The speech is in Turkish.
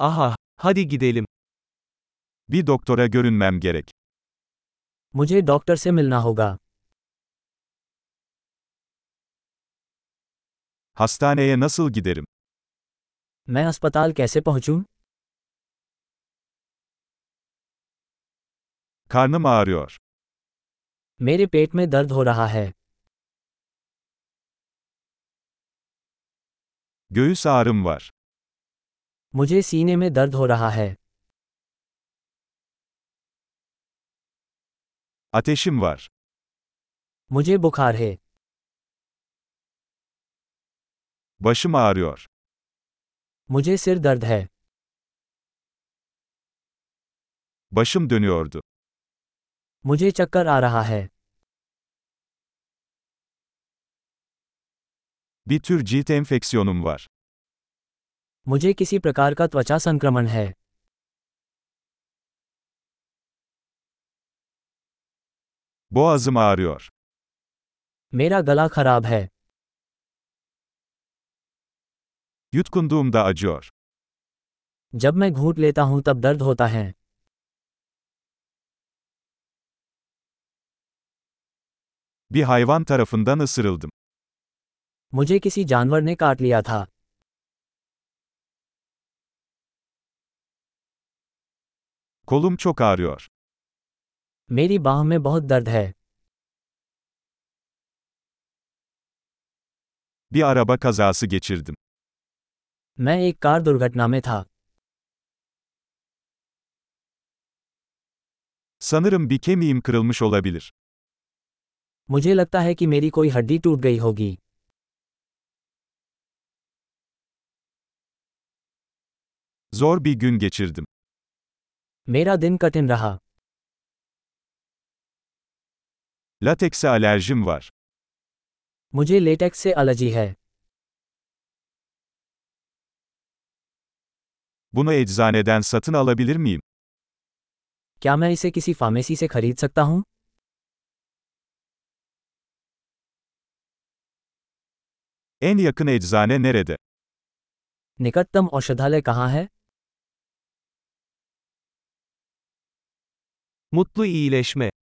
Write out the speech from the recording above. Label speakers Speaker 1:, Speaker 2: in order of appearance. Speaker 1: Aha, hadi gidelim.
Speaker 2: Bir doktora görünmem gerek.
Speaker 3: मुझे doctor से मिलना होगा
Speaker 2: Hastaneye nasıl giderim?
Speaker 3: मैं अस्पताल कैसे पहुंचूं?
Speaker 2: Karnım ağrıyor.
Speaker 3: मेरे पेट में दर्द हो रहा है
Speaker 2: Göğüs ağrım var.
Speaker 3: मुझे सीने में दर्द हो रहा है
Speaker 2: Ateşim var.
Speaker 3: मुझे बुखार है
Speaker 2: Başım ağrıyor.
Speaker 3: मुझे सिर दर्द है
Speaker 2: Başım dönüyordu.
Speaker 3: मुझे चक्कर आ रहा है
Speaker 2: Bir tür cilt enfeksiyonum var.
Speaker 3: मुझे किसी प्रकार का त्वचा संक्रमण है
Speaker 2: Boğazım ağrıyor.
Speaker 3: मेरा गला खराब है
Speaker 2: Yutkunduğumda acıyor.
Speaker 3: जब मैं घूंट लेता हूं तब दर्द होता है
Speaker 2: Bir hayvan tarafından ısırıldım.
Speaker 3: मुझे किसी जानवर ने काट लिया था
Speaker 2: Kolum çok ağrıyor.
Speaker 3: मेरी बाह में बहुत दर्द है
Speaker 2: Bir araba kazası geçirdim.
Speaker 3: मैं एक कार दुर्घटना में था
Speaker 2: Sanırım bir kemiğim kırılmış olabilir.
Speaker 3: मुझे लगता है कि मेरी कोई हड्डी टूट गई होगी
Speaker 2: Zor bir gün geçirdim.
Speaker 3: मेरा दिन कठिन रहा
Speaker 2: Latekse alerjim var.
Speaker 3: मुझे लेटेक्स से एलर्जी है
Speaker 2: Bunu eczaneden satın alabilir miyim?
Speaker 3: क्या मैं इसे किसी फार्मेसी से खरीद सकता हूँ
Speaker 2: En yakın eczane nerede?
Speaker 3: निकटतम औषधालय कहाँ है
Speaker 1: Mutlu iyileşme.